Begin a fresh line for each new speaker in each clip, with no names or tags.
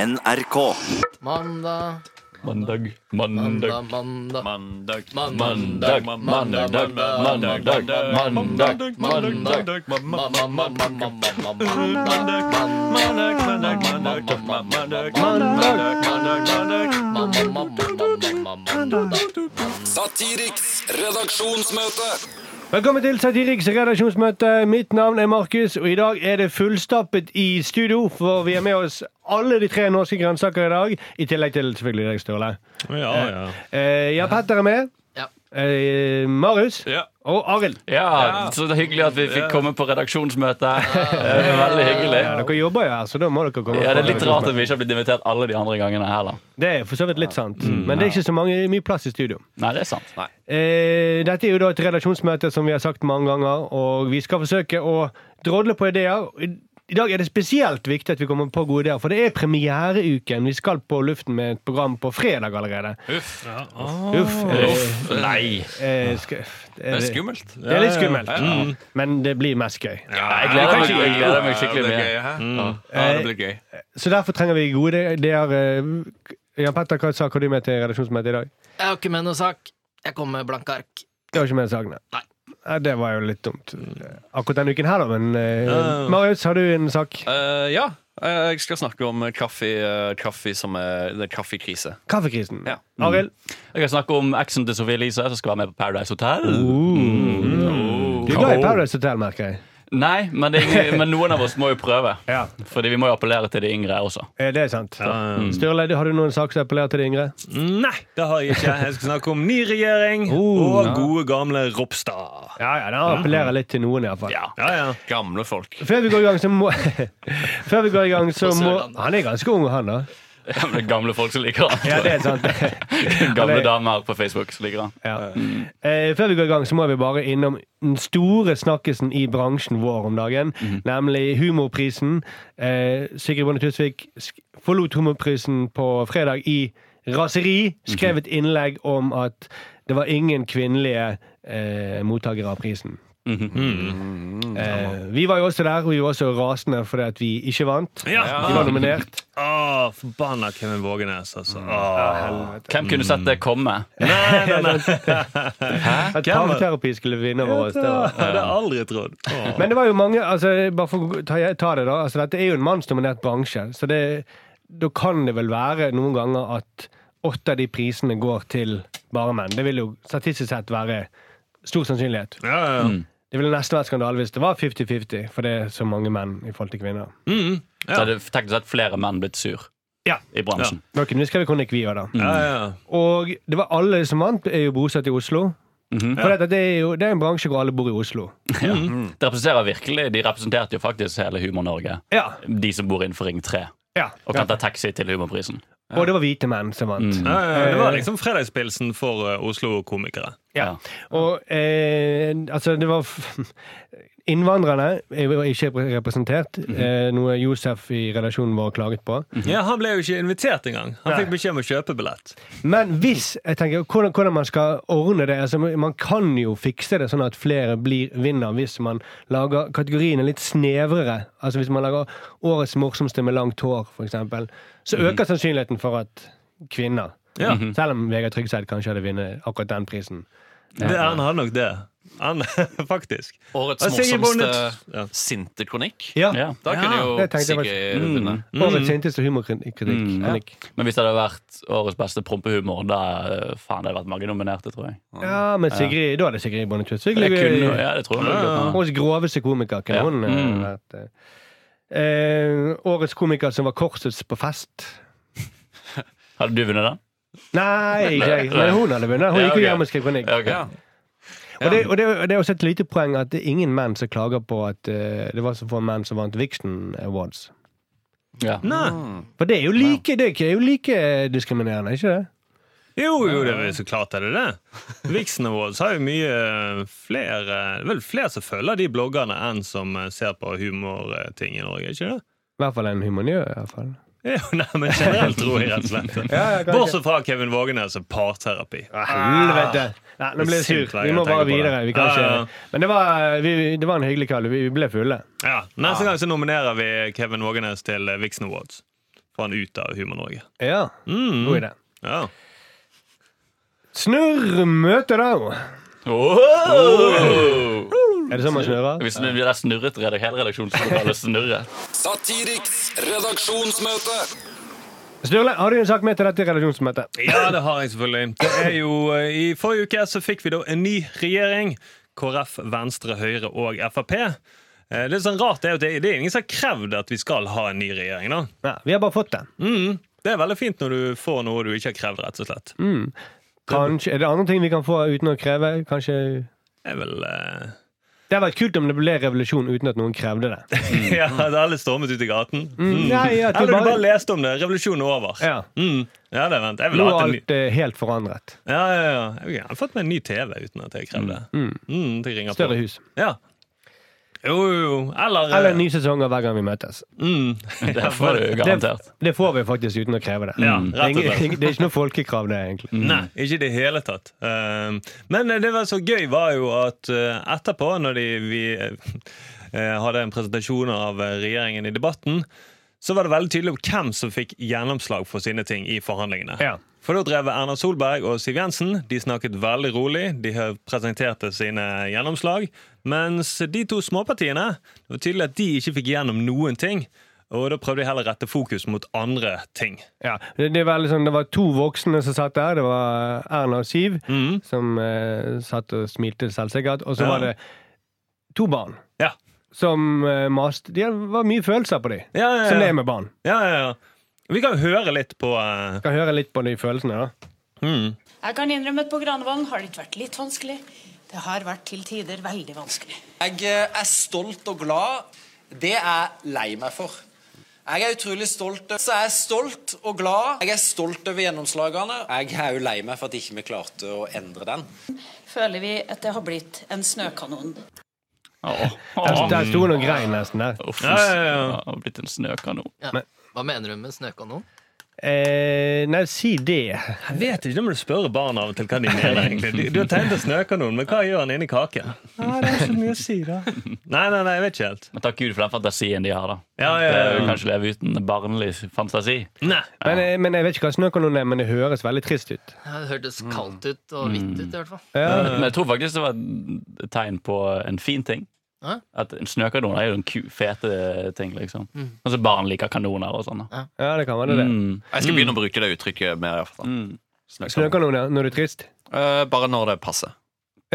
NRK.
Mandag,
Mandag,
mandag, mandag.
mandag,
Mandag,
Mandag, mandag,
mandag, mandag, mandag,
mandag,
mandag.
mandag, mandag,
Ma- ma- ma- ma- ma- ma- mandag.
mandag, mandag, mandag, mandag.
Ma- ma- ma- ma- ma- ma- mandag.
Satiriks redaksjonsmøte.
Velkommen til Satiriks redaksjonsmøte. Mitt navn er Markus, og i dag er det fullstappet i studio, for vi har med oss alle de tre norske grønnsakene i dag, i tillegg til selvfølgelig deg, Sturle.
Ja, ja.
Eh, ja, Petter er med.
Ja.
Eh, Marius
Ja.
og Arild.
Ja, så det er hyggelig at vi fikk komme på redaksjonsmøte. Det er Veldig hyggelig.
Ja, dere jobber jo her, så da må dere komme.
Ja, Det er litt
på
rart at vi ikke har blitt invitert alle de andre gangene heller.
Det er for så vidt litt sant, men det er ikke så mange, mye plass i studio.
Nei, det er sant.
Eh, dette er jo da et redaksjonsmøte som vi har sagt mange ganger, og vi skal forsøke å drodle på ideer. I i dag er det spesielt viktig at vi kommer på gode ideer, for det er premiereuken. Vi skal på luften med et program på fredag allerede.
Uff.
Uff.
Uff, nei.
Eh, eh, skal,
Det
det,
er skummelt.
det er litt skummelt, Mm. men det blir mest gøy.
Jeg gleder meg, jeg gleder meg skikkelig
Det blir
mye.
gøy, hæ? Ja, det blir gøy.
Eh, Så derfor trenger vi gode ideer. eh, Jan Petter, hva sak har du med til redaksjonsmøtet i dag?
Jeg har ikke med noe sak. Jeg kom med blanke ark.
Det var ikke med sakene.
Nei.
Eh, Det var jo litt dumt. Akkurat denne uken her, da, men eh,
Ja.
Marius, har du en sak?
Eh, Ja, eh, jeg skal snakke om kaffe, eh, kaffe som er det er kaffekrise.
Kaffekrisen.
Ja.
Arild?
Jeg kan snakke om eksen til Sophie Elise som skal være med på Paradise Hotel.
Uh. Du er glad i Paradise Hotel, merker jeg.
Nei, men, det er ingen, men noen av oss må jo prøve.
Ja.
Fordi vi må jo appellere til de yngre også.
Eh, Det er sant. Sturle, har du noen sak som appellerer til de yngre?
Nei, det har jeg ikke. Jeg skal snakke om ny regjering
Oh,
og gode gamle Ropstad.
Ja, ja, den appellerer litt til noen, iallfall.
Ja.
Ja, ja.
Gamle folk.
Før vi går i gang, så må Før vi går i gang, så
På
må
Sørlandet.
Han er ganske ung, han, da.
Ja, men det er gamle folk som liker han.
Ja, det er sant.
Gamle
Eller-
damer på Facebook som liker han.
Ja. Eh, før vi går i gang, så må vi bare innom den store snakkisen i bransjen vår om dagen. Nemlig Humorprisen. Eh, Sigrid Bonde Tusvik sk- forlot Humorprisen på fredag i raseri. Skrev et innlegg om at det var ingen kvinnelige eh, mottakere av prisen. Eh, vi var jo også der, og vi var også rasende fordi at vi ikke vant.
ja.
Vi var nominert.
Å, forbanna Kevin Vågenes, altså.
Mm.
Å.
Hvem kunne sett det komme?
At parterapi skulle vinne over oss.
Det
Det var
hadde jeg aldri trodd. Å.
Men det var jo mange altså, Bare for å ta, ta det, da. Altså, dette er jo en mannsdominert bransje. Så det, da kan det vel være noen ganger at åtte av de prisene går til bare menn. Det vil jo statistisk sett være stor sannsynlighet.
Ja, ja, ja.
Det ville nesten vært skandale hvis det var 50-50, for det er så mange menn i forhold til kvinner.
Mm.
Så hadde teknisk sett flere menn blitt sur
Ja.
i bransjen.
Nå kunne vi skrevet kronikk, vi òg, da.
ja, ja.
Og det var alle som vant, er jo bosatt i Oslo.
Mhm.
For dette, det er jo det er en bransje hvor alle bor i Oslo.
Ja. Mhm. Det representerer virkelig, De representerte jo faktisk hele Humor-Norge,
Ja.
de som bor innenfor Ring 3.
ja.
Og Mm. kan ta taxi til Humorprisen.
Og det var hvite menn som vant.
Ja, ja, ja. Det
Eh.
var liksom fredagspilsen for eh, Oslo-komikere.
Ja. Og eh, altså, det var f Innvandrerne er jo ikke representert, eh, noe Josef i redaksjonen vår klaget på.
Ja, Han ble jo ikke invitert engang. Han
Nei.
fikk beskjed om å kjøpe billett.
Men hvis jeg tenker hvordan, hvordan man skal ordne det altså, Man kan jo fikse det sånn at flere blir vinner, hvis man lager kategoriene litt snevrere. Altså Hvis man lager årets morsomste med langt hår, f.eks., så øker sannsynligheten for at kvinner
Ja.
Selv om Vegard Tryggeseid kanskje hadde vunnet akkurat den prisen.
Det, han hadde nok det. Han, faktisk.
Årets
Og Sigrid Bonde
morsomste
Ja.
sinte kronikk.
Ja, Mhm.
Ja.
Da kunne jo
det tenkte jeg Mm.
Sigrid vunnet.
Årets sinteste humorkritikk. Henrik.
Men hvis det hadde vært årets beste prompehumor, da eh, faen, det hadde vært mange nominerte, tror jeg.
Ja, men Sigrid, da er det Sigrid Bonde Tusvik.
Det kunne,
ligger-
ja, det tror jeg nok at man-
Årets groveste komiker kunne
Ja.
hun eh,
Mm.
vært. eh. Eh, årets komiker som var kortest på fest.
Hadde du vunnet den?
Nei, ikke jeg. men hun hadde vunnet. Hun
Ja,
gikk jo
ok.
hjem og skrev kronikk.
Ja, ok.
Ja.
Og, det, og det, det er også et lite poeng at det er ingen menn som klager på at eh, det var så få menn som vant Vixen Awards.
Ja.
Nei.
For det er jo like, det er ikke- er jo like diskriminerende, ikke det?
Jo, jo, det er vel så klart er det det. Vixen Awards har jo mye flere Vel, flere som følger de bloggerne enn som eh, ser på humorting i Norge, ikke det?
I hvert fall en humaniør. i hvert fall.
Jo, nei, men generelt tror jeg rett og slett det.
Ja, ja, kanskje. Ah,
Bortsett fra Kevin Vågenes og parterapi.
Helvete! Nei, nå ble jeg
Det er
sur.
sint hver
Vi
gang
må bare
jeg Ah, tenker på det.
videre. Vi kan
Ja, ja, ja.
ikke. Men det var, vi, det var en hyggelig kveld. Vi vi ble fulle.
Ja, Neste gang så nominerer vi Kevin Vågenes til Vixen Awards. Får han ut av Humor-Norge.
Ja,
Mm.
god idé.
Ja.
Snurr møter deg.
Åh!
Er det sånn man snurrer?
Hvis det blir der snurret redak- hele redaksjonen, så kaller det snurret.
Satiriks redaksjonsmøte.
Sturle, har du en sak med til dette redaksjonsmøtet?
Ja, det har jeg selvfølgelig. Det er jo, eh, I forrige uke så fikk vi da en ny regjering. KrF, Venstre, Høyre og Frp. Eh, Det er sånn rart, det er jo at det, det er ingen som har krevd at vi skal ha en ny regjering. da.
Nei, vi har bare fått den.
Mm. Det er veldig fint når du får noe du ikke har krevd, rett og slett.
Mm. Kanskje, er det andre ting vi kan få uten å kreve? Kanskje
Det er vel... eh,
Det hadde vært kult om det ble revolusjon uten at noen krevde det.
ja,
Mm.
da alle stormet ut i gaten. Mm.
Nei, at vi
Eller du
bare-
bare leste om det. Revolusjonen er over.
Ja.
Mm. ja det er vent. Jeg
Nå
ville
er
hatt en ny
alt eh, helt forandret.
Ja, ja, ja. Jeg ville gjerne fått meg en ny TV uten at jeg krevde det. Mm. til jeg ringer på.
Større hus.
Ja. Jo, jo, jo. Eller,
Eller en ny sesong av Hver gang vi møtes.
Mm.
Det får du
Det,
garantert.
det får vi faktisk uten å kreve det.
Ja,
Det er
rett og slett.
ingen- det er ikke noe folkekrav, det, egentlig.
Nei, ikke i det hele tatt. Um, men det var så gøy var jo at uh, etterpå, når de, vi eh, hadde en presentasjon av eh, regjeringen i debatten, så var det veldig tydelig om hvem som fikk gjennomslag for sine ting i forhandlingene.
Ja.
For da drev Erna Solberg og Siv Jensen. De snakket veldig rolig. De hø- presenterte sine gjennomslag. Mens de to småpartiene det var tydelig at de ikke fikk gjennom noen ting. Og da prøvde de heller å rette fokus mot andre ting.
Ja, det, det, var liksom, det var to voksne som satt der. Det var Erna og Siv, som eh, satt og smilte selvsikkert. Og så
Mm. Ja.
var det to barn
Ja.
som eh, maste. Det var mye følelser på dem,
Ja, ja, ja.
som det er med barn.
Ja, ja, ja. Vi kan jo høre litt på eh,
Kan høre litt på de følelsene, da.
Jeg kan innrømme at på Granevollen har det ikke vært litt vanskelig. Det har vært til tider veldig vanskelig.
Jeg eh, er stolt og glad. Det er jeg lei meg for. Jeg er utrolig stolt. Så jeg er stolt og glad. Jeg er stolt over gjennomslagene. Jeg er jo lei meg for at ikke vi klarte å endre den.
Føler vi at det har blitt en snøkanon.
Åh.
Der,
Åh.
der sto det noe grein nesten der.
Uff,
Ja, ja, ja.
det har blitt en snøkanon.
Ja. Hva mener du med snøkanon?
Eh, nei, si det.
Jeg vet ikke, da må du spørre barna av og til hva de mener. egentlig. Du, du har tegnet en snøkanon, men hva gjør han inni kaken? Nei, det er så mye å si, da. Nei, nei, nei, jeg vet ikke helt.
Men takk Gud for den fantasien de har, da.
Ja, ja, ja.
Det kan ikke leve uten barnlig fantasi.
Nei.
Men, eh, men jeg vet ikke hva snøkanon er, men det høres veldig trist ut.
Ja, Det hørtes kaldt ut og hvitt ut, i hvert fall.
Men jeg tror faktisk det var et tegn på en fin ting.
Ja.
At en snøkanon er jo en ku- fete ting, liksom.
Mm.
Altså barn liker kanoner og sånn. da.
Ja, det kan være det.
Mm.
Jeg skal begynne å bruke det uttrykket mer. i hvert fall.
Mm.
Snøkanon.
Snøkanon, ja. Når du er trist.
Eh, bare når det passer.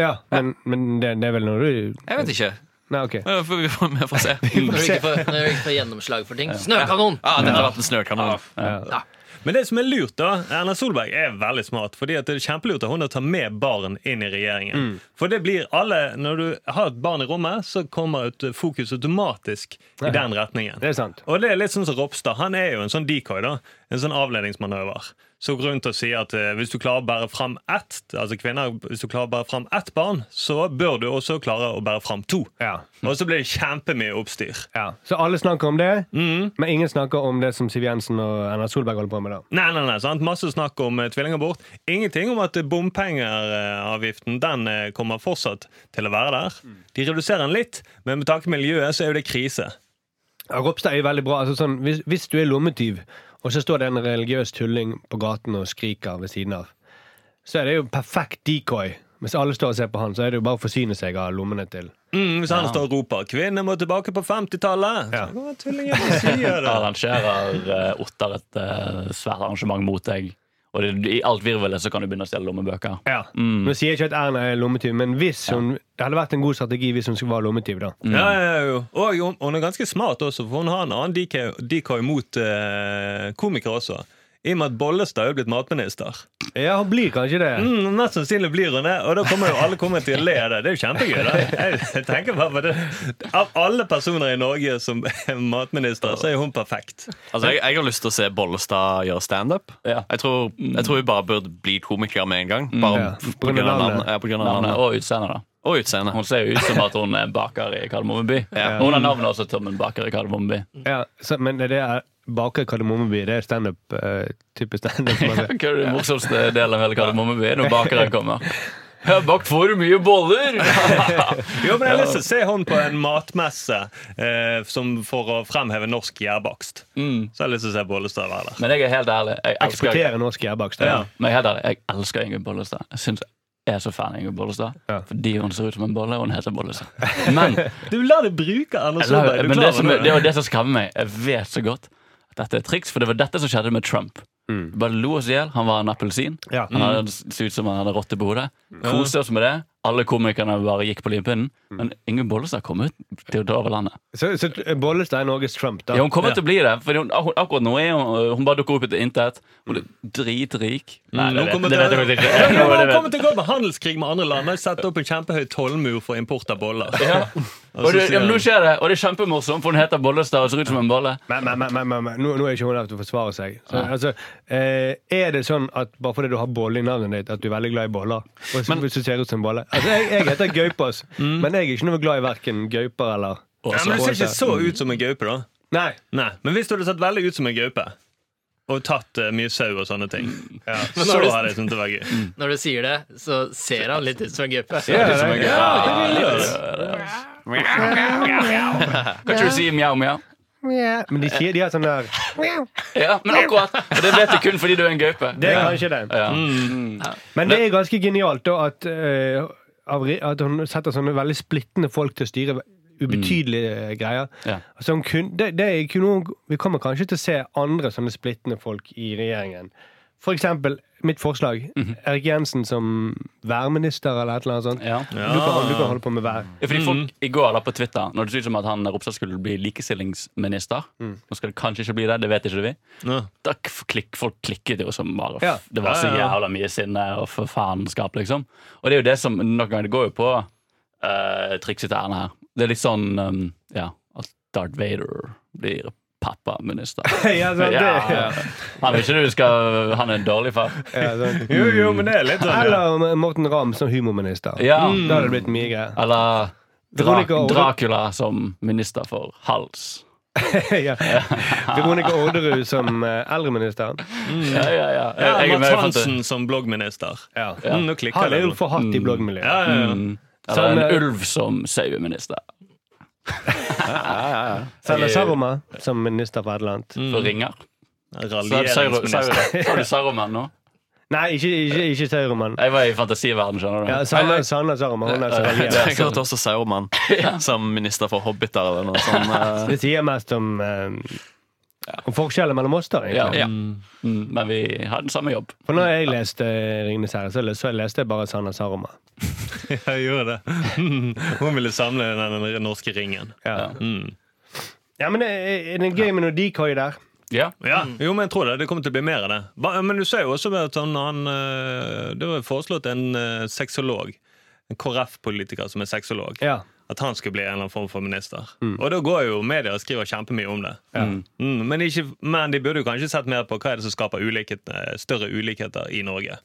Ja, men, men det, det er vel når du
Jeg vet ikke.
Nei, OK.
Eh, får Vi får, vi får se.
Når du ikke får, når du ikke får gjennomslag for ting. Snøkanon!
Ja, dette har vært en snøkanon.
Men det som er lurt, da Erna Solberg er veldig smart. fordi at det er kjempelurt av hun å ta med barn inn i regjeringen. For det blir alle Når du har et barn i rommet, så kommer et fokus automatisk i den retningen.
Det er sant.
Og det er litt sånn som Ropstad. Han er jo en sånn decoy, da. En sånn avledningsmanøver. Så går rundt og sier at eh, hvis du klarer å bære fram ett altså kvinner, hvis du klarer å bære fram ett barn, så bør du også klare å bære fram to.
Ja.
Og så blir det kjempemye oppstyr.
Ja, Så alle snakker om det, men ingen snakker om det som Siv Jensen og Erna Solberg holder på med. da
Nei, nei, nei, sant? Masse snakk om eh, tvillingabort. Ingenting om at eh, bompengeravgiften den eh, kommer fortsatt til å være der. De reduserer den litt, men med tanke på miljøet så er jo det krise.
Ja, Ropstad er jo veldig bra. altså sånn, hvis, hvis du er lommetyv, og så står det en religiøs tulling på gaten og skriker ved siden av, så er det jo perfekt decoy. Mens alle står og ser på han, så er det jo bare å forsyne seg av lommene til.
Mm, hvis han står og roper 'Kvinner må tilbake på 50-tallet',
Ja.
så kommer tvillingene og sier det.
Arrangerer eh, Otter et eh, svært arrangement mot deg, og det, i alt virvelet så kan du begynne å stjele lommebøker.
Ja. Nå sier jeg ikke at Erna er lommetyv, men hvis hun, det hadde vært en god strategi hvis hun skulle være lommetyv, da.
Mm.
Ja, ja, ja, jo. Og hun, hun er ganske smart også, for hun har en annen decoy, decoy mot eh, komikere også. I og med at Bollestad er jo blitt matminister.
Ja, hun blir kanskje det.
Mm, mest sannsynlig blir hun det, og da kommer jo alle kommer til å le av det. Det er jo kjempegøy. da. Jeg, jeg tenker bare på det. Av alle personer i Norge som er matminister, så er hun perfekt.
Altså, jeg, jeg har lyst til å se Bollestad gjøre standup.
Ja.
Jeg, tror- jeg tror hun bare burde bli komiker med en gang. Bare
Ja.
Mm. på grunn av navnet. Ja, på grunn av
Navnet
navnet.
og utseendet, da.
Og utseendet.
Hun ser jo ut som at hun er baker i Kardemomme by.
Ja.
Hun har navnet også som en baker i Kardemomme by.
Ja, så, men det er baker Kardemommeby. Det er standup-type standup. Uh,
Hva er det morsomste delen av hele Kardemomme by? Når bakeren kommer. Jeg har bakt for mye boller!
Jo, men jeg har lyst til å se hun på en matmesse eh, som for å fremheve norsk gjærbakst.
Mm.
Så jeg har lyst til å se Bollestad være der.
Men jeg er helt ærlig. Jeg elsker,
Eksportere norsk gjærbakst.
Ja.
men jeg, er helt ærlig, jeg elsker Ingrid Bollestad. Jeg synes jeg er så fan av Ingrid Bollestad.
Ja.
Fordi hun ser ut som en bolle, og hun heter Bollestad. Men,
Du lar det bruke Erna Solberg.
eller,
Du
men det, som,
klarer
det
det.
er jo det som skammer meg. Jeg vet så godt at dette er triks, for det var dette som skjedde med Trump. Vi Bare lo oss i hjel. Han var en appelsin.
Ja.
Han hadde, så ut som han hadde rotte på hodet. Koste oss med det. Alle komikerne bare gikk på limpinnen. Men Ingrid Bollestad kom ut til å ta over landet.
Så, så Bollestad er Norges Trump, da.
Ja, hun kommer til å bli det. For hun, hun, akkurat nå er hun Hun bare dukker opp etter intet. Hun er dritrik. Nei,
Mm,
det
hun
vet-
kommer
det vet
til-
jeg faktisk
Ja,
ikke.
men
Jo, det
Hun
vet-
kommer til å gå med handelskrig med andre land. og Sette opp en kjempehøy tollmur for import av boller.
Ja.
Og
Og
så
det, ja,
sier
men nå
han
skjer det, og det er kjempemorsomt, for hun heter Bollestad og ser ut som en bolle.
Men, men, men, men, men, men nå, nå er ikke hun der til å forsvare seg. Så, altså, eh, er det sånn at bare fordi du har bolle i navnet ditt, at du er veldig glad i boller? Og så, hvis du ser ut som en bolle altså, jeg, jeg heter Gaupas, men jeg er ikke noe glad i verken gauper eller
Mm. ja, men Du ser ikke så ut som en gaupe, da.
Nei.
Nei, Men hvis du hadde sett veldig ut som en gaupe, og tatt eh, mye sau og sånne ting, ja,
Men
så
har du-
hadde jeg syntes det var gøy.
Når du sier det, så ser han litt ut som en gaupe.
Ja, det er-
Kanskje du sier mjau, mjau?
ja. Men de sier de har sånn der
Ja, men akkurat. Og det vet du kun fordi du er en gaupe.
Det er kanskje det.
Ja.
Mm.
Mm.
Men det er ganske genialt da at, eh, av re- at hun setter sånne veldig splittende folk til å styre ubetydelige eh, greier.
Mm. Ja.
Altså, hun kun, det, det er kun noe, vi kommer kanskje til å se andre sånne splittende folk i regjeringen. For eksempel mitt forslag.
Mhm.
Erik Jensen som værminister eller et eller annet sånt.
Ja.
Du, kan, du kan holde på med vær.
Fordi
Mm.
folk i går da på Twitter Når det så ut som at han Ropstad skulle bli likestillingsminister
Mm.
Nå skal det kanskje ikke bli det, det vet ikke vi.
Nå.
Da k- klikk, folk klikket jo som bare f-
Ja.
Det var så
Ja, ja, ja.
jævla mye sinne og for faenskap, liksom. Og det er jo det som noen ganger Det går jo på eh, trikset til Erna her. Det er litt sånn um, ja, at Darth Vader blir pappaminister.
Ja,
altså,
sant, det-
Ja. Han vil ikke du skal Han er en dårlig far.
Ja, sant.
Jo, jo, men det er litt sånn ja.
sånn. Eller Morten Ramm som humorminister.
Ja.
Da hadde det blitt mye greier.
Mm. Eller Dra
Veronica Orderud.
Dracula som minister for hals.
ja. Veronica Orderud som eh, eldreminister.
Ja, ja, ja. Jeg,
Ja,
jeg er med
Mads
for at det-
Hansen som bloggminister.
Ja.
Mm, nå klikker
Han
det.
er jo forhatt i bloggmiljøet.
Ja, ja,
Mm.
ja.
Eller
Sånn, eh,
en ulv som saueminister.
Selger Saroma som minister for et eller annet.
For ringer. Så er det Sauro-
Raljeringsminister.
Sauro- Har du Sauroman nå?
Nei, ikke, ikke, ikke Sauroman.
Jeg var i fantasiverden, skjønner du.
Ja, Sanna, Sanna Saroma. Hun er altså så veldig
Jeg
sånn.
hørte også Sauermann som minister for hobbiter eller noe sånt. eh.
Det sier mest om, eh, om forskjellen mellom oss, da.
Ja.
egentlig.
Mm, men vi har den samme jobb.
For når jeg leste eh, Ringenes herre, så leste, så leste jeg bare Sanna Saroma.
Jeg gjorde det. Hun ville samle den den norske ringen.
Ja.
Mm.
ja, men er er det gøy med noe decoy der?
Ja.
Ja, jo, men jeg tror det. Det kommer til å bli mer av det. Hva- Men du ser jo også at han, han eh, Det var foreslått en eh, sexolog. En KrF-politiker som er sexolog.
Ja.
At han skulle bli en eller annen form for minister. Og da går jo media og skriver kjempemye om det. Mm, men, ikke, men de burde jo kanskje sett mer på hva er det som skaper ulikhet, eh, større ulikheter i Norge.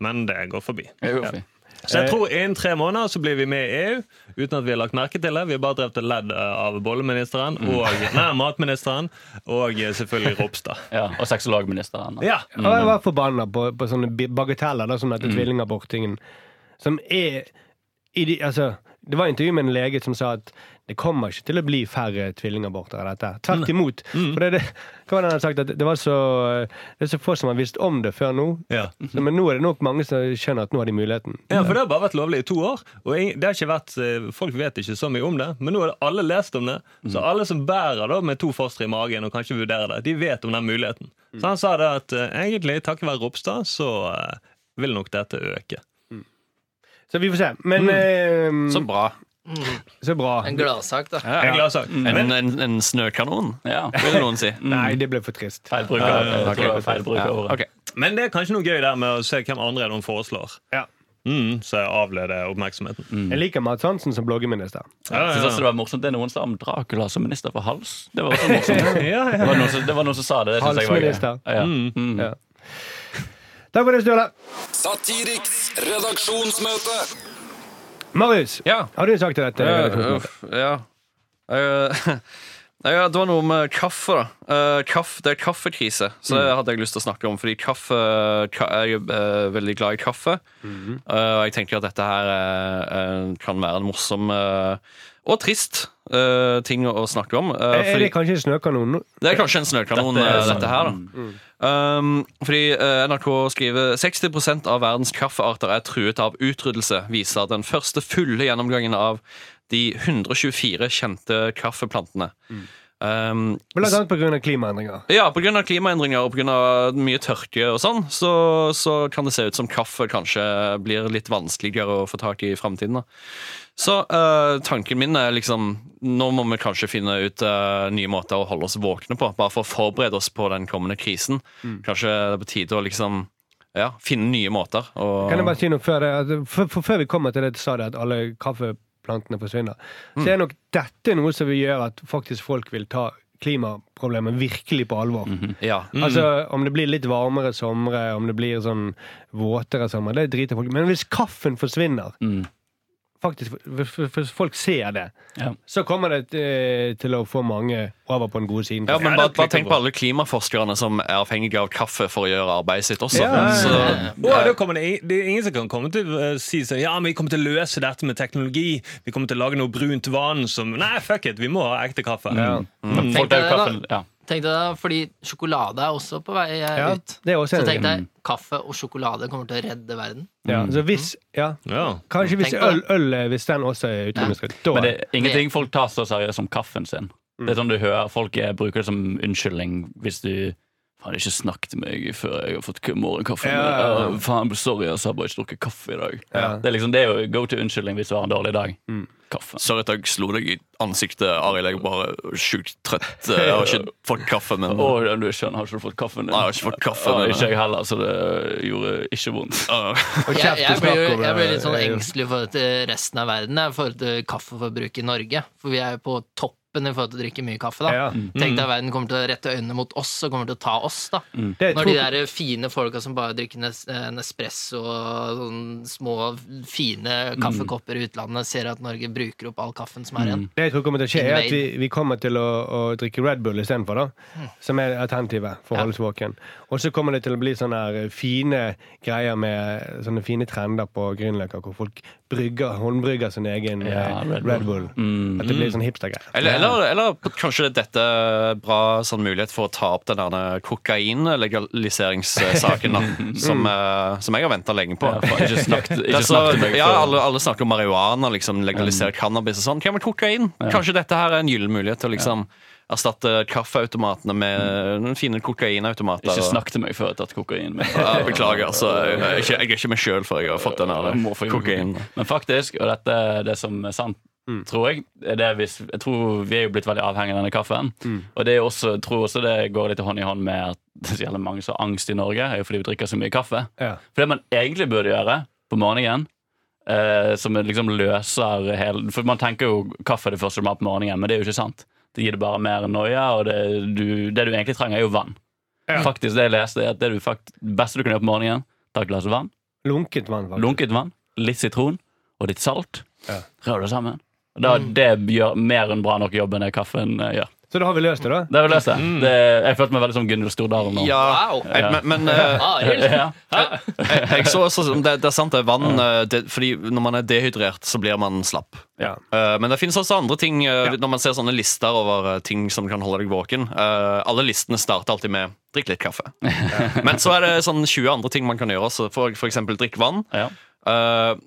Men det går forbi.
Det går fint.
Så jeg tror innen tre måneder så blir vi med i EU uten at vi har lagt merke til det. Vi har bare drevet og ledd eh, av bolleministeren og nei, matministeren og eh, selvfølgelig Ropstad.
Ja, og sexologministeren.
Ja.
Og jeg var forbanna på, på sånne bi- bagateller da, som dette
Mm.
tvillingabortingen. Som er i de, altså, Det var intervju med en lege som sa at det kommer ikke til å bli færre tvillingaborter av dette. Tvert imot.
Mm.
For det, er det, hva var det han hadde sagt? At det, var så, det er så få som har visst om det før nå.
Ja.
Mhm.
Så, men nå er det nok mange som skjønner at nå har de muligheten.
ja, for det har bare vært lovlig i to år. Og ing- det har ikke vært, eh, Folk vet ikke så mye om det, men nå har alle lest om det. Så alle som bærer da med to fostre i magen og kanskje vurderer det, de vet om den muligheten. Så han sa det at eh, egentlig takket være Ropstad så eh, vil nok dette øke.
Så vi får se. Men eh,
Mm. Så bra.
så bra.
En gladsak, da.
En glad sak.
En, en, en snøkanon,
Ja. Mm.
vil noen si.
Nei, det ble for trist.
Feil bruk av jeg tror det var feil bruk av ordet.
Ok.
Men det er kanskje noe gøy der med å se hvem andre enn hun foreslår.
Ja.
Mm, så jeg avleder oppmerksomheten.
Mm.
Jeg liker Mads Hansen som bloggeminister.
Ja,
Jeg
ja,
synes
Mm. ja.
også det var morsomt Det er noen som om Dracula som minister for hals. Det var også morsomt.
Ja, ja.
Det var noen som, det var noen som sa det. det synes jeg var gøy.
Halsminister.
Ja. Mm.
Ja. Takk for det, Ståle.
Satiriks redaksjonsmøte.
Marius,
Ja.
har du en sak til dette?
Ja,
redaksjonsmøtet?
uff, ja. Eh,
Ja, det var noe med kaffe, da. Eh, kaff, det er kaffekrise, så
Mm.
det hadde jeg lyst til å snakke om. Fordi kaffe ka, Jeg er eh, veldig glad i kaffe.
Mhm.
Eh, og jeg tenker at dette her eh, eh, kan være en morsom eh, og trist eh, ting å, å snakke om. eh,
Er
fordi-
det kanskje en snøkanon? nå?
det er kanskje en snøkanon,
Dette
dette,
er sånn. Mm.
dette her. da. Um, fordi eh, NRK skriver 60 av verdens kaffearter er truet av utryddelse, viser den første fulle gjennomgangen av de 124 kjente kaffeplantene.
Mm.
Um,
Blant annet pga. klimaendringer.
ja, pga. klimaendringer og på grunn av mye tørke og sånn, så, så kan det se ut som kaffe kanskje blir litt vanskeligere å få tak i i framtiden. da. Så eh, tanken min er liksom Nå må vi kanskje finne ut eh, nye måter å holde oss våkne på, bare for å forberede oss på den kommende krisen.
Mm.
Kanskje det er på tide å liksom ja, finne nye måter. Og,
Kan jeg bare si noe før det? At- For, for før vi kommer til det du sa det, at alle kaffeplantene forsvinner, så er nok dette noe som vil gjøre at faktisk folk vil ta klimaproblemet virkelig på alvor.
ja.
Altså, Om det blir litt varmere somre, om det blir sånn våtere sommer, det driter folk i. Men hvis kaffen forsvinner
Mm.
Faktisk, hvis- hvis hvis folk ser det,
Ja.
så kommer det eh, til å få mange over på den gode siden.
Ja, men bare,
det er
bare tenk på alle klimaforskerne som er avhengige av kaffe for å gjøre arbeidet sitt også.
Ja, ja, ja.
Så,
Og da kommer det, ing- det er ingen som kan komme til å si sånn Ja, men vi kommer til å løse dette med teknologi. Vi kommer til å lage noe brunt vann som Nei, fuck it, vi må ha ekte kaffe.
Ja.
Mm.
Tenk
Folk er
deg
jo
det,
kaffen, ja.
Tenk deg da, fordi sjokolade er også på vei eh,
Ja,
ut.
det er også
Så tenk
en-
deg, kaffe og sjokolade kommer til å redde verden.
Ja, så hvis, ja,
Ja.
Kanskje hvis
Tenk på
øl, øl eh, hvis den også er utromisk. Da
Men det er ingenting folk tar så seriøst som kaffen sin. Det er sånn du hører Folk eh, bruker det som unnskyldning hvis du Faen, ikke snakk til meg før jeg har fått k- morgenkaffe.
Ja, ja, ja.
Eh, faen, sorry, altså, jeg har bare ikke drukket kaffe i dag.
Ja.
Det er liksom det er jo go to unnskyldning hvis du har en dårlig dag. Kaffe.
Sorry at jeg slo deg i ansiktet, Arild. Jeg er bare sjukt trøtt. Jeg har ikke fått kaffe, men
Å, du skjønner, har ikke du fått kaffen din?
Nei, jeg har ikke fått kaffe,
Å,
men-
ikke jeg heller, så det gjorde ikke vondt.
øh.
Og
Jeg,
kjeft og
jeg, blir,
snakk
jo-
om
jeg blir litt
det,
sånn
eh,
engstelig for at resten av verden jeg, i forhold til kaffeforbruket i Norge. For vi er jo på toppen i forhold til å drikke mye kaffe. da.
Ja.
Tenk deg at verden kommer til å rette øynene mot oss og kommer til å ta oss. da.
Det
Når de
tror-
der fine folka som bare drikker nes- eh, Nespresso og sånn små, fine kaffekopper i utlandet, ser at Norge bruker opp all kaffen som er igjen.
Det jeg tror kommer til å skje, er at vi,
Invade.
vi kommer til å, å drikke Red Bull istedenfor, da. Som er alternativet for
Hmm.
å
Ja.
holde oss våken. Og så kommer det til å bli sånne her eh, fine greier med eh, sånne fine trender på Grünerløkka, hvor folk brygger, håndbrygger sin egen
Ja,
eh,
Red
Red,
Bull.
Bull. At det
Mm.
blir sånn hipstergreier.
Eller, eller, eller kanskje dette er bra sånn mulighet for å ta opp den derne kokainlegaliseringssaken da, som, eh, som jeg har venta lenge på.
Ja, faen, ikke snakk til
Det er
ikke
så,
snakk til meg
ja,
før.
alle, alle snakker om marihuana, liksom, legalisere cannabis og sånn. Hva med kokain? Kanskje dette her er en gyllen mulighet til å liksom, erstatte kaffeautomatene
Mm.
med noen fine kokainautomater.
Ikke
og-
snakk til meg før jeg har tatt kokain. men-
Ja, beklager, altså. Jeg, jeg, er ikke- jeg er ikke meg sjøl før jeg har fått den
Jeg må få
der
gjort
kokainen.
noe. Men faktisk, og dette er det som er sant, tror jeg, er det hvis, jeg tror vi er jo blitt veldig avhengig av denne kaffen. Og det er jo også, jeg tror også det går litt hånd i hånd med at det er så jævlig mange som har angst i Norge, er jo fordi vi drikker så mye kaffe.
Ja.
For det man egentlig burde gjøre på morgenen, eh, som liksom løser hele For man tenker jo kaffe er det første du må ha på morgenen, men det er jo ikke sant. Det gir det bare mer noia, og det du, det du egentlig trenger, er jo vann. Faktisk, Det jeg leste er at det du fakt, beste du kan gjøre på morgenen, ta et glass vann.
Lunket vann, faktisk.
Lunket vann, litt sitron og litt salt. Rør det sammen. Og Da, det gjør mer enn bra nok jobb enn det kaffen eh, gjør.
Så da har vi løst det, da.
Det har vi løst, det. det. Jeg følte meg veldig som Gunhild Stordalen nå.
Ja,
Wow.
jeg, men, men eh,
Arild!
Ja.
jeg, jeg så også, sånn, det, det er sant, det er vann eh, det, Fordi når man er dehydrert, så blir man slapp.
Ja.
Eh, Men det finnes også andre ting eh, Når man ser sånne lister over eh, ting som kan holde deg våken eh, Alle listene starter alltid med Drikk litt kaffe Men så er det sånn 20 andre ting man kan gjøre også. For, for eksempel drikk vann
Ja.
eh,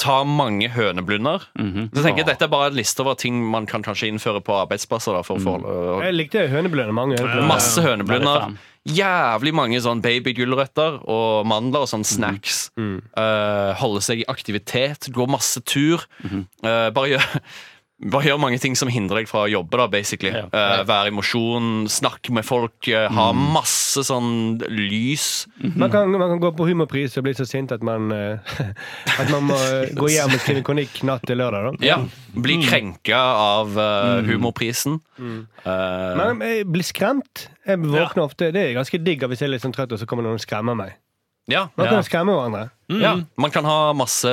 Ta mange høneblunder
Mhm.
Så tenker jeg dette er bare en liste over ting Man kan kanskje innføre på arbeidsplasser da, For å få
Jeg likte høneblønner. Mange høneblunder.
Masse
Veldig
høneblunder.
fan.
Jævlig mange sånn babygulrøtter og mandler og sånn snacks.
Mm.
Eh, holde seg i aktivitet, gå masse tur.
Mhm.
Eh, bare, gjør, bare gjør mange ting som hindrer deg fra å jobbe, da, basically.
Ja. Mm.
Eh, være i mosjon, snakke med folk, eh, ha masse sånn lys.
Man kan, man kan gå på humorpris og bli så sint at man, eh, at man må eh, gå hjem og skrive kronikk natt til lørdag. da
Ja,
Mm.
Bli krenka av eh, humorprisen. Eh,
Men jeg blir skremt. Jeg våkner ofte. Det er ganske digg hvis jeg er litt sånn trøtt, og så kommer noen og skremmer meg.
Ja.
Man kan
Ja.
skremme hverandre.
Mm.
ja. Man kan ha masse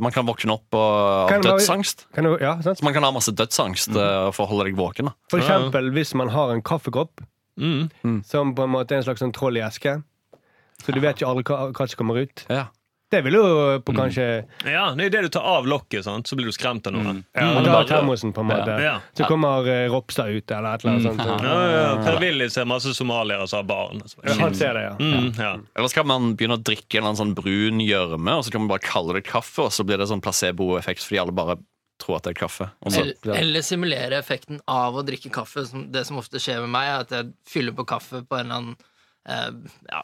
Man kan våkne opp og ha
Kan det være-
dødsangst.
Kan du, ja, sant?
Så man kan ha masse dødsangst
Mm.
eh, for å holde deg våken. da
For
Ja, ja.
eksempel hvis man har en kaffekopp
Mm.
som på en måte er en slags sånn troll i eske. Så du vet jo aldri hva, hva som kommer ut.
Ja.
Det vil jo
Mm.
på kanskje
Ja, det er det du tar av lokket, sant? så blir du skremt av noe. Mm.
Man tar termosen, på en måte.
Ja. Mm.
Så kommer eh, Ropstad ut, eller et eller annet sånt.
Ja, ja, Per Willy ser masse somaliere som har barn. og så bare,
Ja, han ser det, ja.
Mm, ja.
Eller skal man begynne å drikke en eller annen sånn brun gjørme, og så kan man bare kalle det kaffe, og så blir det sånn placeboeffekt fordi alle bare tror at det er kaffe. Og så,
Eller, eller simulere effekten av å drikke kaffe. Som, det som ofte skjer med meg, er at jeg fyller på kaffe på en eller annen eh, ja,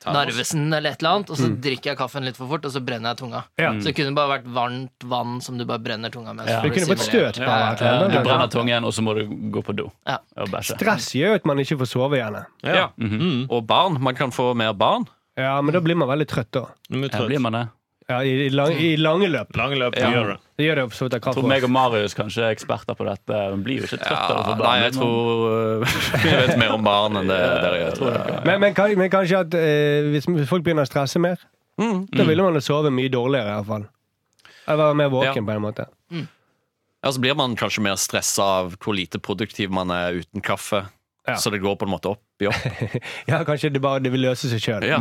Narvesen eller et eller annet, og så drikker jeg kaffen litt for fort, og så brenner jeg tunga.
Ja.
Så det kunne bare vært varmt vann som du bare brenner tunga med.
Du kunne fått støt på et eller
Du
annet.
brenner tungen, og så må du gå på do
Ja.
og bæsje.
Stress gjør jo at man ikke får sove gjerne.
ja.
Mhm.
Og barn. Man kan få mer barn.
Ja, men da blir man veldig trøtt da.
Mye
Ja,
trøtt.
blir man det?
Ja, i, i, lang, I lange løp.
Lange løp
Ja.
gjør det.
Det gjør det jo for så vidt
Jeg
av kaffe.
tror meg og
også.
Marius kanskje er eksperter på dette. Man blir jo ikke trøtt av å få barn. liksom.
nei, jeg tror Vi vet mer om barn enn det dere gjør.
Men, men, kan- men kanskje at eh, hvis folk begynner å stresse mer,
Mm.
da ville man jo sove mye dårligere i hvert fall. Eller være mer våken
Ja.
på en måte.
Ja, så blir man kanskje mer stressa av hvor lite produktiv man er uten kaffe.
Ja.
Så det går på en måte opp i opp. Mm.
Ja, kanskje det bare det vil løse seg sjøl.
Ja.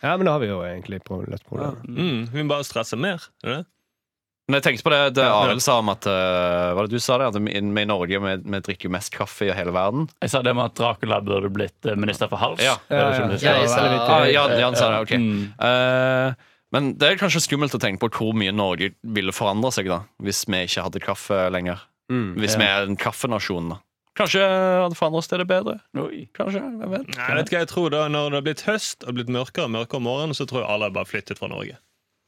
Ja, men da har vi jo egentlig pro- løst problemet.
Mm, vi må bare stresse mer. Er det det?
Men jeg tenkte på det, det Arild sa om at eh, Hva var det du sa det? At vi vi i Norge vi, vi drikker jo mest kaffe i hele verden.
Jeg sa det med at Dracula burde blitt eh, minister for hals.
Ja.
Det er jo ikke
Ja, ja.
minister.
Jeg sa,
veldig
Ah, ja, ja, han sa det, ok
Mm.
Eh, Men det er kanskje skummelt å tenke på hvor mye Norge ville forandre seg da hvis vi ikke hadde kaffe lenger.
Mm.
Hvis vi er en kaffenasjon, da. Kanskje hadde forandret oss til det bedre.
Oi.
Kanskje, jeg vet
Nei, vet du hva jeg tror da Når det har blitt høst og blitt mørkere og mørkere om morgenen, så tror jeg alle har bare flyttet fra Norge.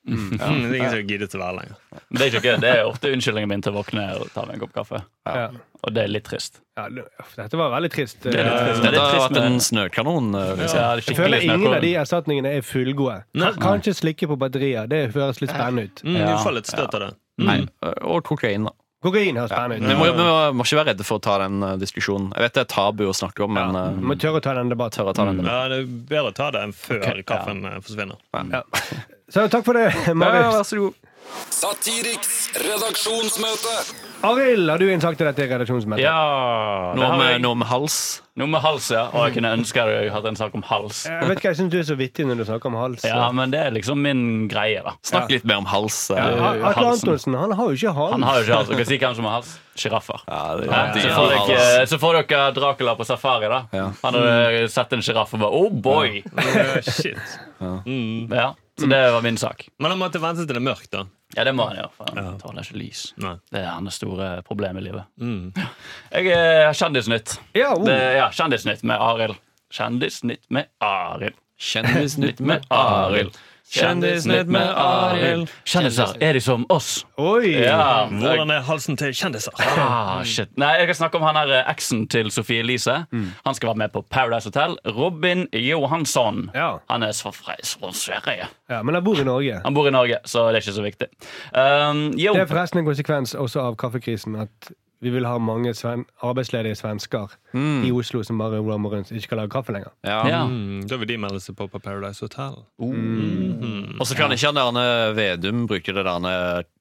Mm, det er ingen som gidder til å være lenger.
Men Det er ikke ok. Det er ofte unnskyldningen min til å våkne og ta meg en kopp kaffe.
Ja.
Og det er litt trist.
Ja, det- uff, dette var veldig trist. Eh,
Eh, Det er litt trist, men
Det
det
har
er
vært
trist
en
med
snøkanon. eh, vil jeg si.
ja,
Jeg føler
skikkelig
ingen av de
snøkorn.
erstatningene er fullgode. Kan- Kanskje slikke på batterier. Det høres litt spennende ut.
Mm,
Ja.
Du får litt støt av det.
Mm.
Nei, eh, og kokain, da.
Kokain høres spennende
Vi
ut.
må, vi må, må ikke være redde for å ta den eh, diskusjonen. Jeg vet det er tabu å snakke om, men eh,
Vi må tørre å ta den debatten.
tør å ta
Mm.
den.
Ja, det er bedre å ta det enn før
Ok, ja.
kaffen eh, forsvinner.
Så takk for det, Marius.
så god.
Satiriks redaksjonsmøte.
Arild, har du en sak til dette redaksjonsmøtet?
Ja, det
Noe
har
med,
jeg.
noe med hals.
Noe med hals, ja. Og jeg kunne ønske at jeg hadde en sak om hals.
Jeg vet ikke, jeg syns du er så vittig når du snakker om hals.
Ja, men det er liksom min greie, da.
Snakk litt mer om hals. eh.
Ja, Atle
halsen.
Antonsen, han har jo ikke hals.
Han har jo ikke hals. Dere sier hvem som har hals? Sjiraffer.
Ja, det,
Hæ?
det-
Så, får eh, dere- så får dere Dracula på safari, da.
Ja.
Han hadde sett en sjiraff og bare Oh boy!
Eh, Shit.
Ja, Så det var min sak.
Men han måtte vente til det er mørkt, da.
Ja, det må han gjøre, for han tåler ikke lys.
Nei.
Det er hans store problem i livet. Jeg eh, har Kjendisnytt.
Mm. Ja, oh.
Det, ja, Kjendisnytt med Arild. Kjendisnytt med Arild.
Kjendisnytt med
Arild. Kjendisnytt med Arild. Kjendiser, er de som oss?
Oi!
Ja.
Hvordan er halsen til kjendiser?
Ah, shit. Nei, jeg skal snakke om han her eh, eksen til Sofie Elise.
Mm.
Han skal være med på Paradise Hotel. Robin Johansson.
Ja.
Han er så fra fra Sverige.
Ja, men han bor i Norge.
Han bor i Norge, så det er ikke så viktig. Um, jo.
Det er forresten en konsekvens også av kaffekrisen at vi vil ha mange sven arbeidsledige svensker
Mm.
i Oslo som bare roamer rundt og ikke kan lage kaffe lenger.
Ja.
Mm, da vil de melde seg på på Paradise Hotel.
Og så kan ikke han derne Vedum bruke det derne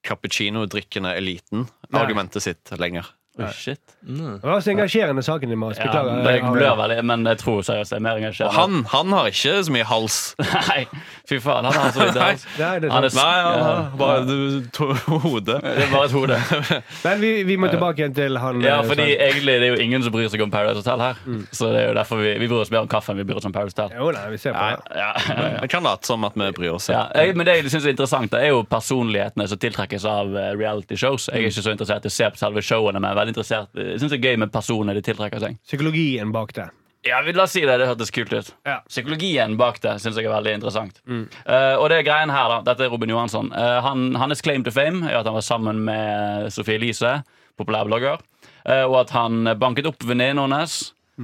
cappuccino-drikkende eliten argumentet sitt lenger.
Oi, shit.
Det var så engasjerende saken din, Mats.
Mm. Ja,
Beklager.
det
Arild.
blør veldig, men jeg tror seriøst jeg er mer
Og
engasjert.
han, han har ikke så mye hals.
Nei, fy faen. Han har så vidt hals.
Nei, det er
Han
sant.
er
Nei, han har
ja.
bare du- to- hodet.
Det er bare et hode.
Men vi, vi må tilbake igjen til han
Ja,
eh,
fordi
Sven-
egentlig det er jo ingen som bryr seg om Paradise Hotel her. Så det er jo derfor vi, vi bryr oss mer om kaffe enn vi bryr oss om Paradise Hotel.
Jo, nei, vi ser på
Ja,
det.
ja, ja.
Vi kan late som at vi bryr oss.
Ja, jeg, men det jeg synes er interessant, det er jo personlighetene som tiltrekkes av eh, reality shows. Jeg er ikke så interessert i å se på selve showene, men jeg er veldig interessert Jeg synes det er gøy med personene de tiltrekker seg.
Psykologien bak det.
Ja, vi- La oss si det. Det hørtes kult ut.
Ja.
Psykologien bak det syns jeg er veldig interessant. Eh, og det er greien her, da. Dette er Robin Johansson. Eh, han, hans claim to fame er at han var sammen med Sophie Elise, populærblogger, eh, og at han banket opp venninnen hennes,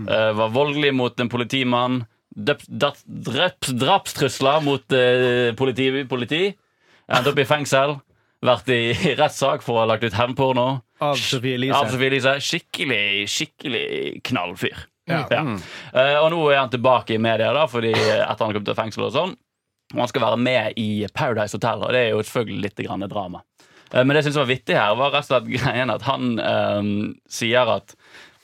eh, var voldelig mot en politimann, døpt- dat- drept- drapstrusler mot eh, politi, politi endt opp i fengsel, vært i, i rettssak for å ha lagt ut hevnporno.
Av Sophie Elise.
Av Sophie Elise. Skikkelig, skikkelig knallfyr.
Ja.
Ja. Eh, og nå er han tilbake i media da, fordi etter han kom til fengsel og sånn. Og han skal være med i Paradise Hotel, og det er jo selvfølgelig litt grann et drama. Eh, men det jeg synes var vittig her, var rett og slett greien at han eh, sier at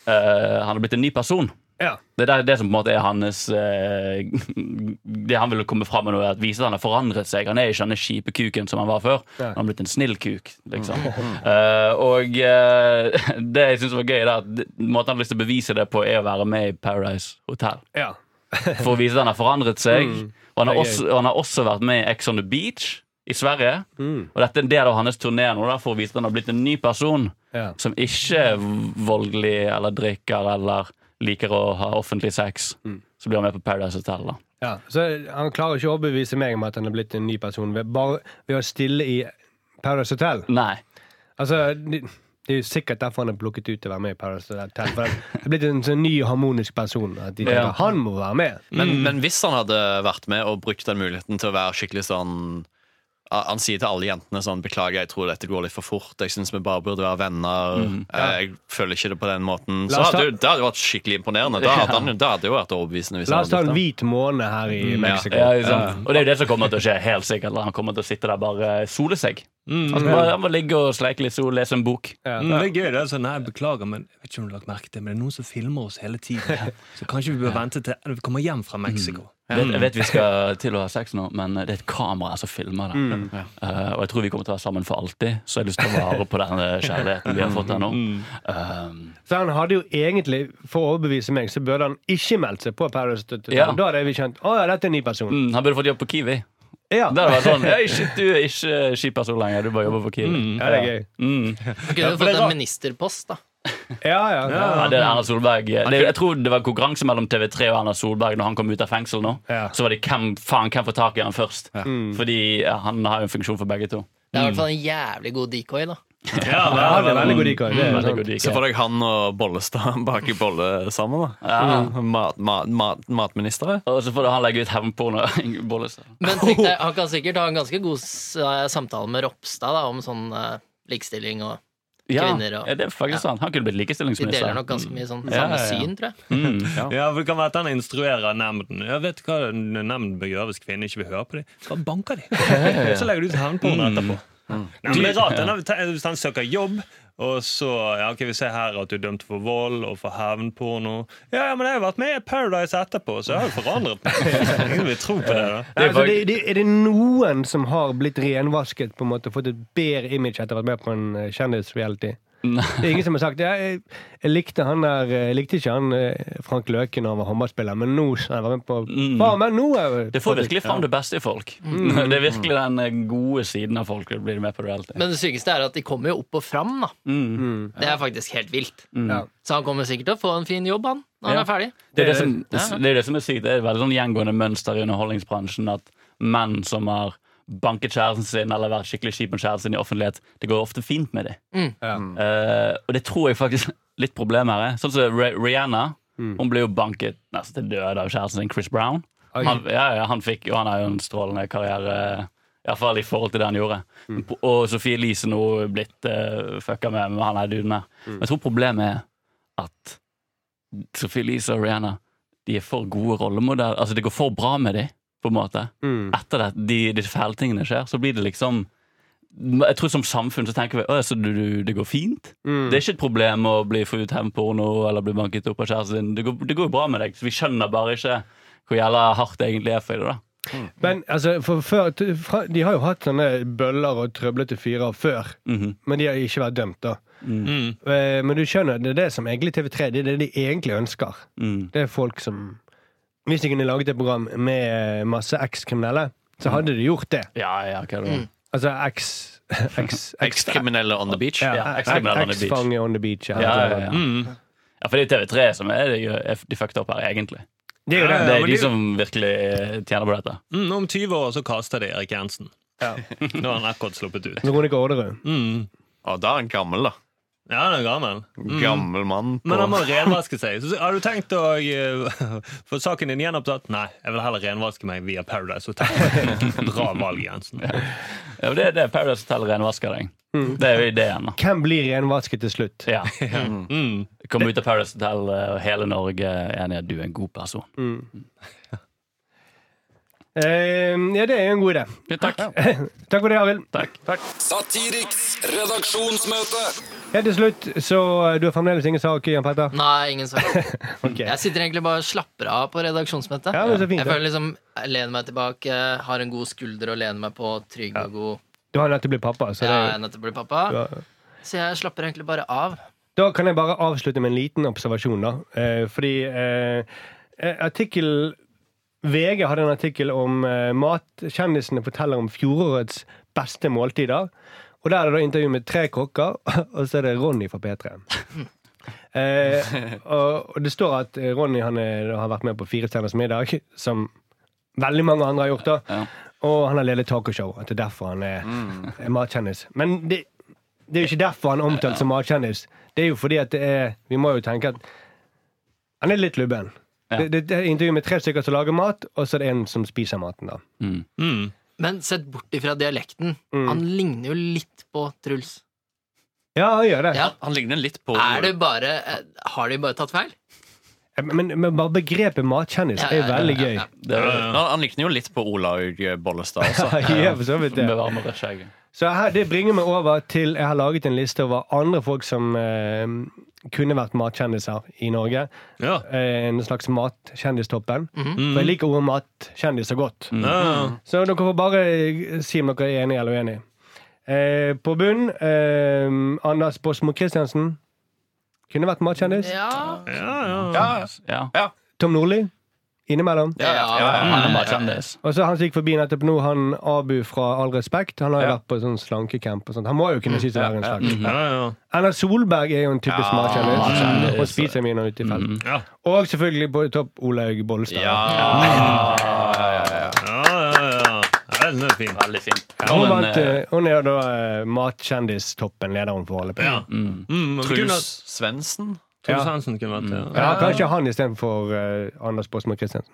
eh, han er blitt en ny person.
Ja.
Det er det- det som på en måte er hans eh, Det han vil komme fram med nå, er at vise at han har forandret seg. Han er ikke den kjipe kuken som han var før.
Ja.
Han har blitt en snill kuk, liksom. Eh, og eh, det jeg syns var gøy, er at måten han har lyst til å bevise det på, er å være med i Paradise Hotel.
Ja.
For å vise at han har forandret seg. Og han har,
Det er
også, og han har også vært med i Ex on the Beach i Sverige. Og dette er en del av hans turné nå, da, for å vise at han har blitt en ny person
Ja.
som ikke er voldelig eller drikker eller liker å ha offentlig sex. Så blir han med på Paradise Hotel. da
Ja, så Han klarer ikke å overbevise meg om at han er blitt en ny person ved, bare ved å stille i Paradise Hotel.
Nei.
Altså, det, det er jo sikkert derfor han er plukket ut til å være med i Paradise Hotel. For han er blitt en sånn ny harmonisk person. At de tenker,
Ja.
Han må være med!
Men, men hvis han hadde vært med og brukt den muligheten til å være skikkelig sånn han han sier til alle jentene sånn 'Beklager, jeg tror dette går litt for fort. Jeg syns vi bare burde være venner.' eh, 'Jeg føler ikke det på den måten.' Så
Mm. La
hadde,
oss ta-
jo- det hadde jo vært skikkelig imponerende. Da hadde, han, jo- det hadde jo vært overbevisende. Hvis
La
han
oss ta
hadde
en
gjort det.
hvit måne her i Mexico.
Mm. Ja, ikke sant? Og det er jo det som kommer til å skje. helt sikkert Han kommer til å sitte der bare sole seg. Han,
Altså,
skal bare, han må ligge og sleike litt sol, lese en bok.
Mm, det er gøy. det er sånn, Nei, jeg beklager, men jeg vet ikke om du har lagt merke til det, men det er noen som filmer oss hele tiden. Så kanskje vi bør vente til vi kommer hjem fra Mexico.
Jeg vet, jeg vet vi skal til å ha sex nå, men det er et kamera som filmer det. Eh, og jeg tror vi kommer til å være sammen for alltid, så jeg har lyst til å vare på den eh, kjærligheten vi har fått her nå. Um,
Så han hadde jo egentlig, for å overbevise meg, så burde han ikke meldt seg på Paradise Hotel.
Ja.
Da hadde vi kjent å ja, dette er en ny person.
mm, han burde fått jobb på Kiwi.
Ja.
Der var det sånn, «Hei, shit, du er ikke eh, skip person lenger, du bare jobber på Kiwi.
ja, det er gøy.
Han kunne jo fått en ministerpost, da.
Ja, ja.
Ja, det er Erna Solberg det, Jeg tror det var konkurranse mellom TV3 og Erna Solberg Når han kom ut av fengsel nå
Ja.
Så var det hvem faen hvem får tak i han først Mm. Fordi ja, han har jo en funksjon for begge to
Det er i hvert fall en jævlig god decoy, da.
Ja,
Ja, han er veldig god i kar. Det er
Veldig
sant.
god dike.
Se for deg han og Bollestad bak i bolle sammen. da Mm. mat, mat, mat, Matministre.
Og så får han legge ut hevnporno Bollestad.
Men tenk deg, han kan sikkert ha en ganske god s- eh, samtale med Ropstad da, om sånn eh, likestilling og
ja,
Kvinner og-
ja, det er faktisk sant Han kunne blitt
De
likestillingsminister
deler nok ganske mye sånn
Ja,
samme
ja, ja.
syn, tror jeg.
mm, ja.
Ja, for Det kan være at han instruerer nemnden. Jeg vet du hva nemnden bør gjøre hvis kvinner ikke vil høre på dem. Bare banker dem. Så legger du ut hevnporno etterpå. Nei, men det er rart, denne- Hvis han søker jobb, og så ja, ok, Vi ser her at du er dømt for vold og for hevnporno. Ja, ja, men jeg har vært med i Paradise etterpå, så jeg har jo forandret meg. Ingen vil tro på det. da
Nei, altså, det, det, er det noen som har blitt renvasket på en måte fått et bedre image etter å ha vært med på en eh, kjendisreality? Det er ingen som har sagt ja, jeg, jeg likte han der eh, Jeg likte ikke han eh, Frank Løken da han var håndballspiller, men nå skal jeg være med på Faen, men nå er jeg-
Mm. Det får virkelig fram det beste i folk
Mm.
Det er virkelig den eh, gode siden av folk Blir med på reality
Men det sykeste er at de kommer jo opp og fram, da.
Mm.
Det er faktisk helt vilt.
Ja.
Så han kommer sikkert til å få en fin jobb, han, når
Ja.
han er ferdig.
Det er det, som,
Eh, Ja, ja.
det er det som er sykt. Det er et veldig sånn gjengående mønster i underholdningsbransjen at menn som har banket kjæresten sin eller vært skikkelig kjip med kjæresten sin i offentlighet, det går ofte fint med dem.
Mm.
Eh, og det tror jeg faktisk litt problemet her er. Sånn som Rih- Rihanna.
Mm.
Hun ble jo banket nesten til døde av kjæresten sin, Chris Brown.
Oi.
Han, ja, ja, han fikk, og han har jo en strålende karriere, iallfall i forhold til det han gjorde.
Mm.
Og Sophie Elise nå er blitt uh, fucka med med han her duden her.
Mm.
Men jeg tror problemet er at Sophie Elise og Rihanna De er for gode rollemodeller. Altså, det går for bra med dem, på en måte.
Mm.
Etter at de, de fæle tingene skjer, så blir det liksom jeg tror Som samfunn så tenker vi at du, du, det går fint. Det er ikke et problem å bli få ut hevnporno eller bli banket opp av kjæresten din. Det går det går jo bra med deg. Så vi skjønner bare ikke hvor jævla hardt det egentlig er for deg. da
Men altså, for før, t- fra, de har jo hatt sånne bøller og trøblete fyrer før,
Mhm. Mm.
men de har ikke vært dømt, da. Eh, Men du skjønner, det er det som egentlig TV3 Det er det de egentlig ønsker.
Mm.
Det er folk som Hvis de kunne laget et program med eh, masse eks-kriminelle, så hadde de gjort det.
Ja, ja, hva er det?
Altså eks eks- eks-
Ekskriminelle on the beach.
ja,
ja,
eks-
eks-kriminelle on the beach.
Eks-fange on the beach. Ja.
Ja, ja, ja. ja, for det er TV3 som er, er de fucked up her, egentlig.
Det er jo det.
Det
men
er de
de-
som virkelig tjener på dette.
Mm, om 20 år så kaster de Erik Jensen. Nå har han akkurat sluppet ut.
Veronica Orderud.
Mm.
Og da er han gammel, da.
Ja, han er gammel.
Gammel mann. På.
Men han må renvaske seg. Så, har du tenkt å eh, få saken din gjenopptatt? Nei, jeg vil heller renvaske meg via Paradise Hotel. Bra valg, Jensen.
Ja, men det er det Paradise Hotel renvasker deg. Det er jo ideen. da
Hvem blir renvasket til slutt?
Mm. Ja. Mm. Kom ut av Paradise Hotel, og hele Norge er enig i at du er en god person.
Eh, ja, det er jo en god idé.
Ja, takk.
Takk for det, Arild.
takk.
Satiriks redaksonsmøte.
Helt til slutt, så eh, du har fremdeles ingen sak, Jan Petter?
Nei, ingen sak.
Ok.
Jeg sitter egentlig bare og slapper av på redaksjonsmøtet.
Ja, det er så fint,
jeg
det.
føler liksom, jeg lener meg tilbake, har en god skulder å lene meg på, trygg og god.
Du har nettopp blitt pappa. Så
Jeg
det,
er nettopp blitt pappa.
Ja.
Så jeg slapper egentlig bare av.
Da kan jeg bare avslutte med en liten observasjon, da. Eh, fordi eh, eh, artikkel VG hadde en artikkel om eh, mat. Kjendisene forteller om fjorårets beste måltider. Og der er det da intervju med tre kokker, og så er det Ronny fra P3. Eh, og, og det står at eh, Ronny han er, har vært med på Fire stjerners middag, som veldig mange andre har gjort. da
Ja.
Og han har ledet tacoshow. At det er derfor han er er matkjendis. Men det, det er jo ikke derfor han er omtalt som matkjendis. Det er jo fordi at det er Vi må jo tenke at han er litt lubben.
Ja.
Det, det, det er intervju med tre stykker som lager mat, og så er det en som spiser maten. da
Mm.
Men sett bort ifra dialekten,
Mm.
han ligner jo litt på Truls.
Ja, han gjør det.
Ja.
Han ligner litt på
Er det bare eh, Har de bare tatt feil?
Men, men bare begrepet matkjendis
Ja,
er jo
ja, ja,
veldig
ja,
gøy.
ja.
Det er
Ja, Han likner jo litt på Olaug Bollestad altså. også.
Han gjør for så vidt det.
med varme rødt skjegg.
Så her, det bringer meg over til Jeg har laget en liste over andre folk som eh, kunne vært matkjendiser i Norge.
Ja.
Eh, en slags matkjendistoppen.
Mhm.
For jeg liker ordet matkjendiser godt.
Ja.
Så dere får bare si om dere er enige eller uenige. Eh, på bunn eh, Anders Båsmo Christiansen. Kunne vært matkjendis.
Ja.
Ja, ja.
Ja,
Ja.
Tom Nordli. Innimellom.
ja, ja, ja, ja.
Han er bare kjendis.
Og så han som gikk forbi nettopp nå, han Abu fra All respekt. Han har jo vært på sånn slankecamp og sånt. Han må jo
Mm.
kunne sies å være en slank.
Mm-hmm.
ja, ja.
Erna Solberg er jo en typisk matkjendis.
matkjendis.
Og spiser mye når ute i felten.
Mm-hmm.
Ja.
Og selvfølgelig på topp Olaug Bollestad.
Ja, ja, ja. Ja, Den er fin.
Veldig fint.
Hun,
Men,
vant,
eh,
eh, hun er jo da eh, matkjendistoppen leder hun for å holde på.
Ja. Mm. Truls
Truls Svendsen?
Truls Hansen kunne vært det. Ja.
Ja, kanskje han istedenfor uh, Anders Båsmo Christiansen.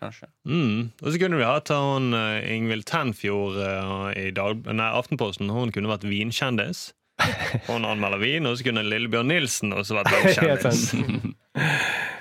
kanskje.
Mm. Og så kunne vi hatt hun eh, Ingvild Tenfjord eh, i dag, nei, Aftenposten. Hun kunne vært vinkjendis. Hun anmelder vin, og så kunne Lillebjørn Nilsen også vært
Helt
vinkjendis.
sant.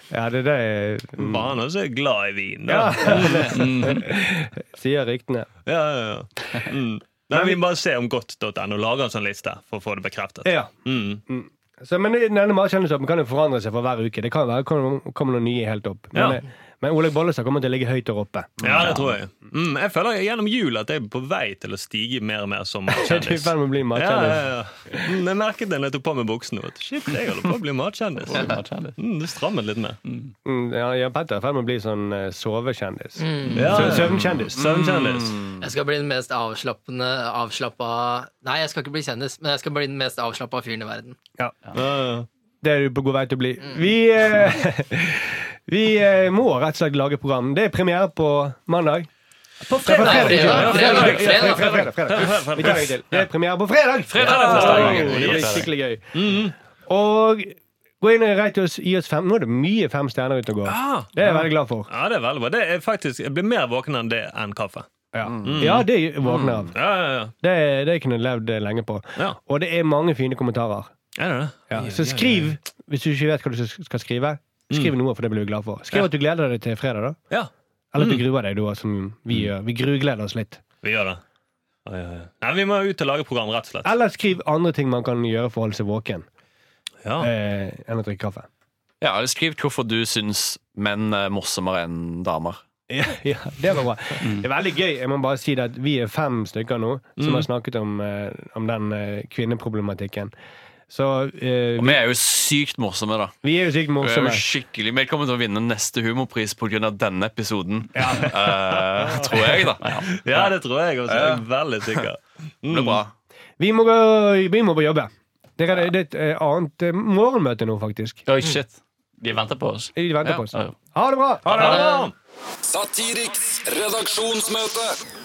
Ja, det er det jeg
Var han også glad i vin, da?
Ja. sier ryktene.
Ja, ja, ja. Mm. Nei, vi må bare se om godt.no lager en sånn liste for å få det bekreftet.
Ja.
Mm.
Så, men denne matkjendistoppen kan jo forandre seg for hver uke. Det kan være kommer kommer noen nye helt opp. Men,
Ja.
eh, men Olaug Bollestad kommer til å ligge høyt der oppe.
Ja, det tror jeg. Mm, jeg føler gjennom jul at jeg er på vei til å stige mer og mer som
Du er i
matkjendis.
ferd med å bli
Ja, ja,
matkjendis.
ja. Mm, Jeg merket det da jeg tok på meg buksene. vet du. Shit, jeg holder på å bli matkjendis.
Bare kjendis.
Mm, det strammet litt mer.
Mm, Ja, ja, Petter er i ferd med å bli sånn eh, sovekjendis.
Ja,
Sø-
ja.
Søvnkjendis. Mm.
Søvnkjendis.
Jeg skal bli den mest avslappende avslappa Nei, jeg skal ikke bli kjendis, men jeg skal bli den mest avslappa fyren i verden.
Ja, ja.
Det er du på god vei til å bli. Vi, eh, vi eh, må rett og slett lage program. Det er premiere på mandag. På fredag!
Nei, fredag,
fredag, ja,
fredag,
fredag, ja,
fredag.
fredag, fredag, fredag. Vi tar en til. Det er premiere på fredag!
fredag.
Åh, Det blir skikkelig gøy. Og gå inn og rate oss, gi oss fem. Nå er det mye fem stjerner ute og går.
Ah,
Det er jeg veldig glad for.
Ja, det er veldig bra. Det er faktisk, jeg blir mer våken enn det enn kaffe.
Ja, ja det våkner jeg av.
Ja, ja, ja.
Det, det kunne jeg levd eh, lenge på.
Ja.
Og det er mange fine kommentarer.
Er det det?
Ja. Mm. Så skriv, hvis du ikke vet hva du skal skrive, skriv noe, for det blir du glad for. Skriv at du gleder deg til fredag, da.
Ja,
Eller at du gruer deg, du, også, som vi gjør. Vi grugleder oss litt.
vi gjør det. Oi, oi, oi. Nei, vi må ut og lage program, rett og slett.
Eller skriv andre ting man kan gjøre for å holde seg våken
Ja.
eh, enn å drikke kaffe.
Ja, eller Skriv hvorfor du syns menn er morsommere enn damer.
Ja, ja, det var bra. Det er veldig gøy. Jeg må bare si det at Vi er fem stykker nå
Mm.
som har snakket om, eh, om den eh, kvinneproblematikken. Så eh,
Og vi er jo sykt morsomme, da.
vi er jo
Vi
sykt
er
morsomme.
jo skikkelig Vi kommer til å vinne neste humorpris pga. denne episoden. Eh, tror jeg, da. Det
ja, det tror jeg også. Jeg er veldig sikker.
blir bra.
Vi må, gå, vi må på jobb. Det er, det er et annet eh, morgenmøte nå, faktisk.
Oi, shit. De venter på oss.
De venter på oss.
Ja.
Ha det bra!
Ha det!
Satiriks redaksjonsmøte.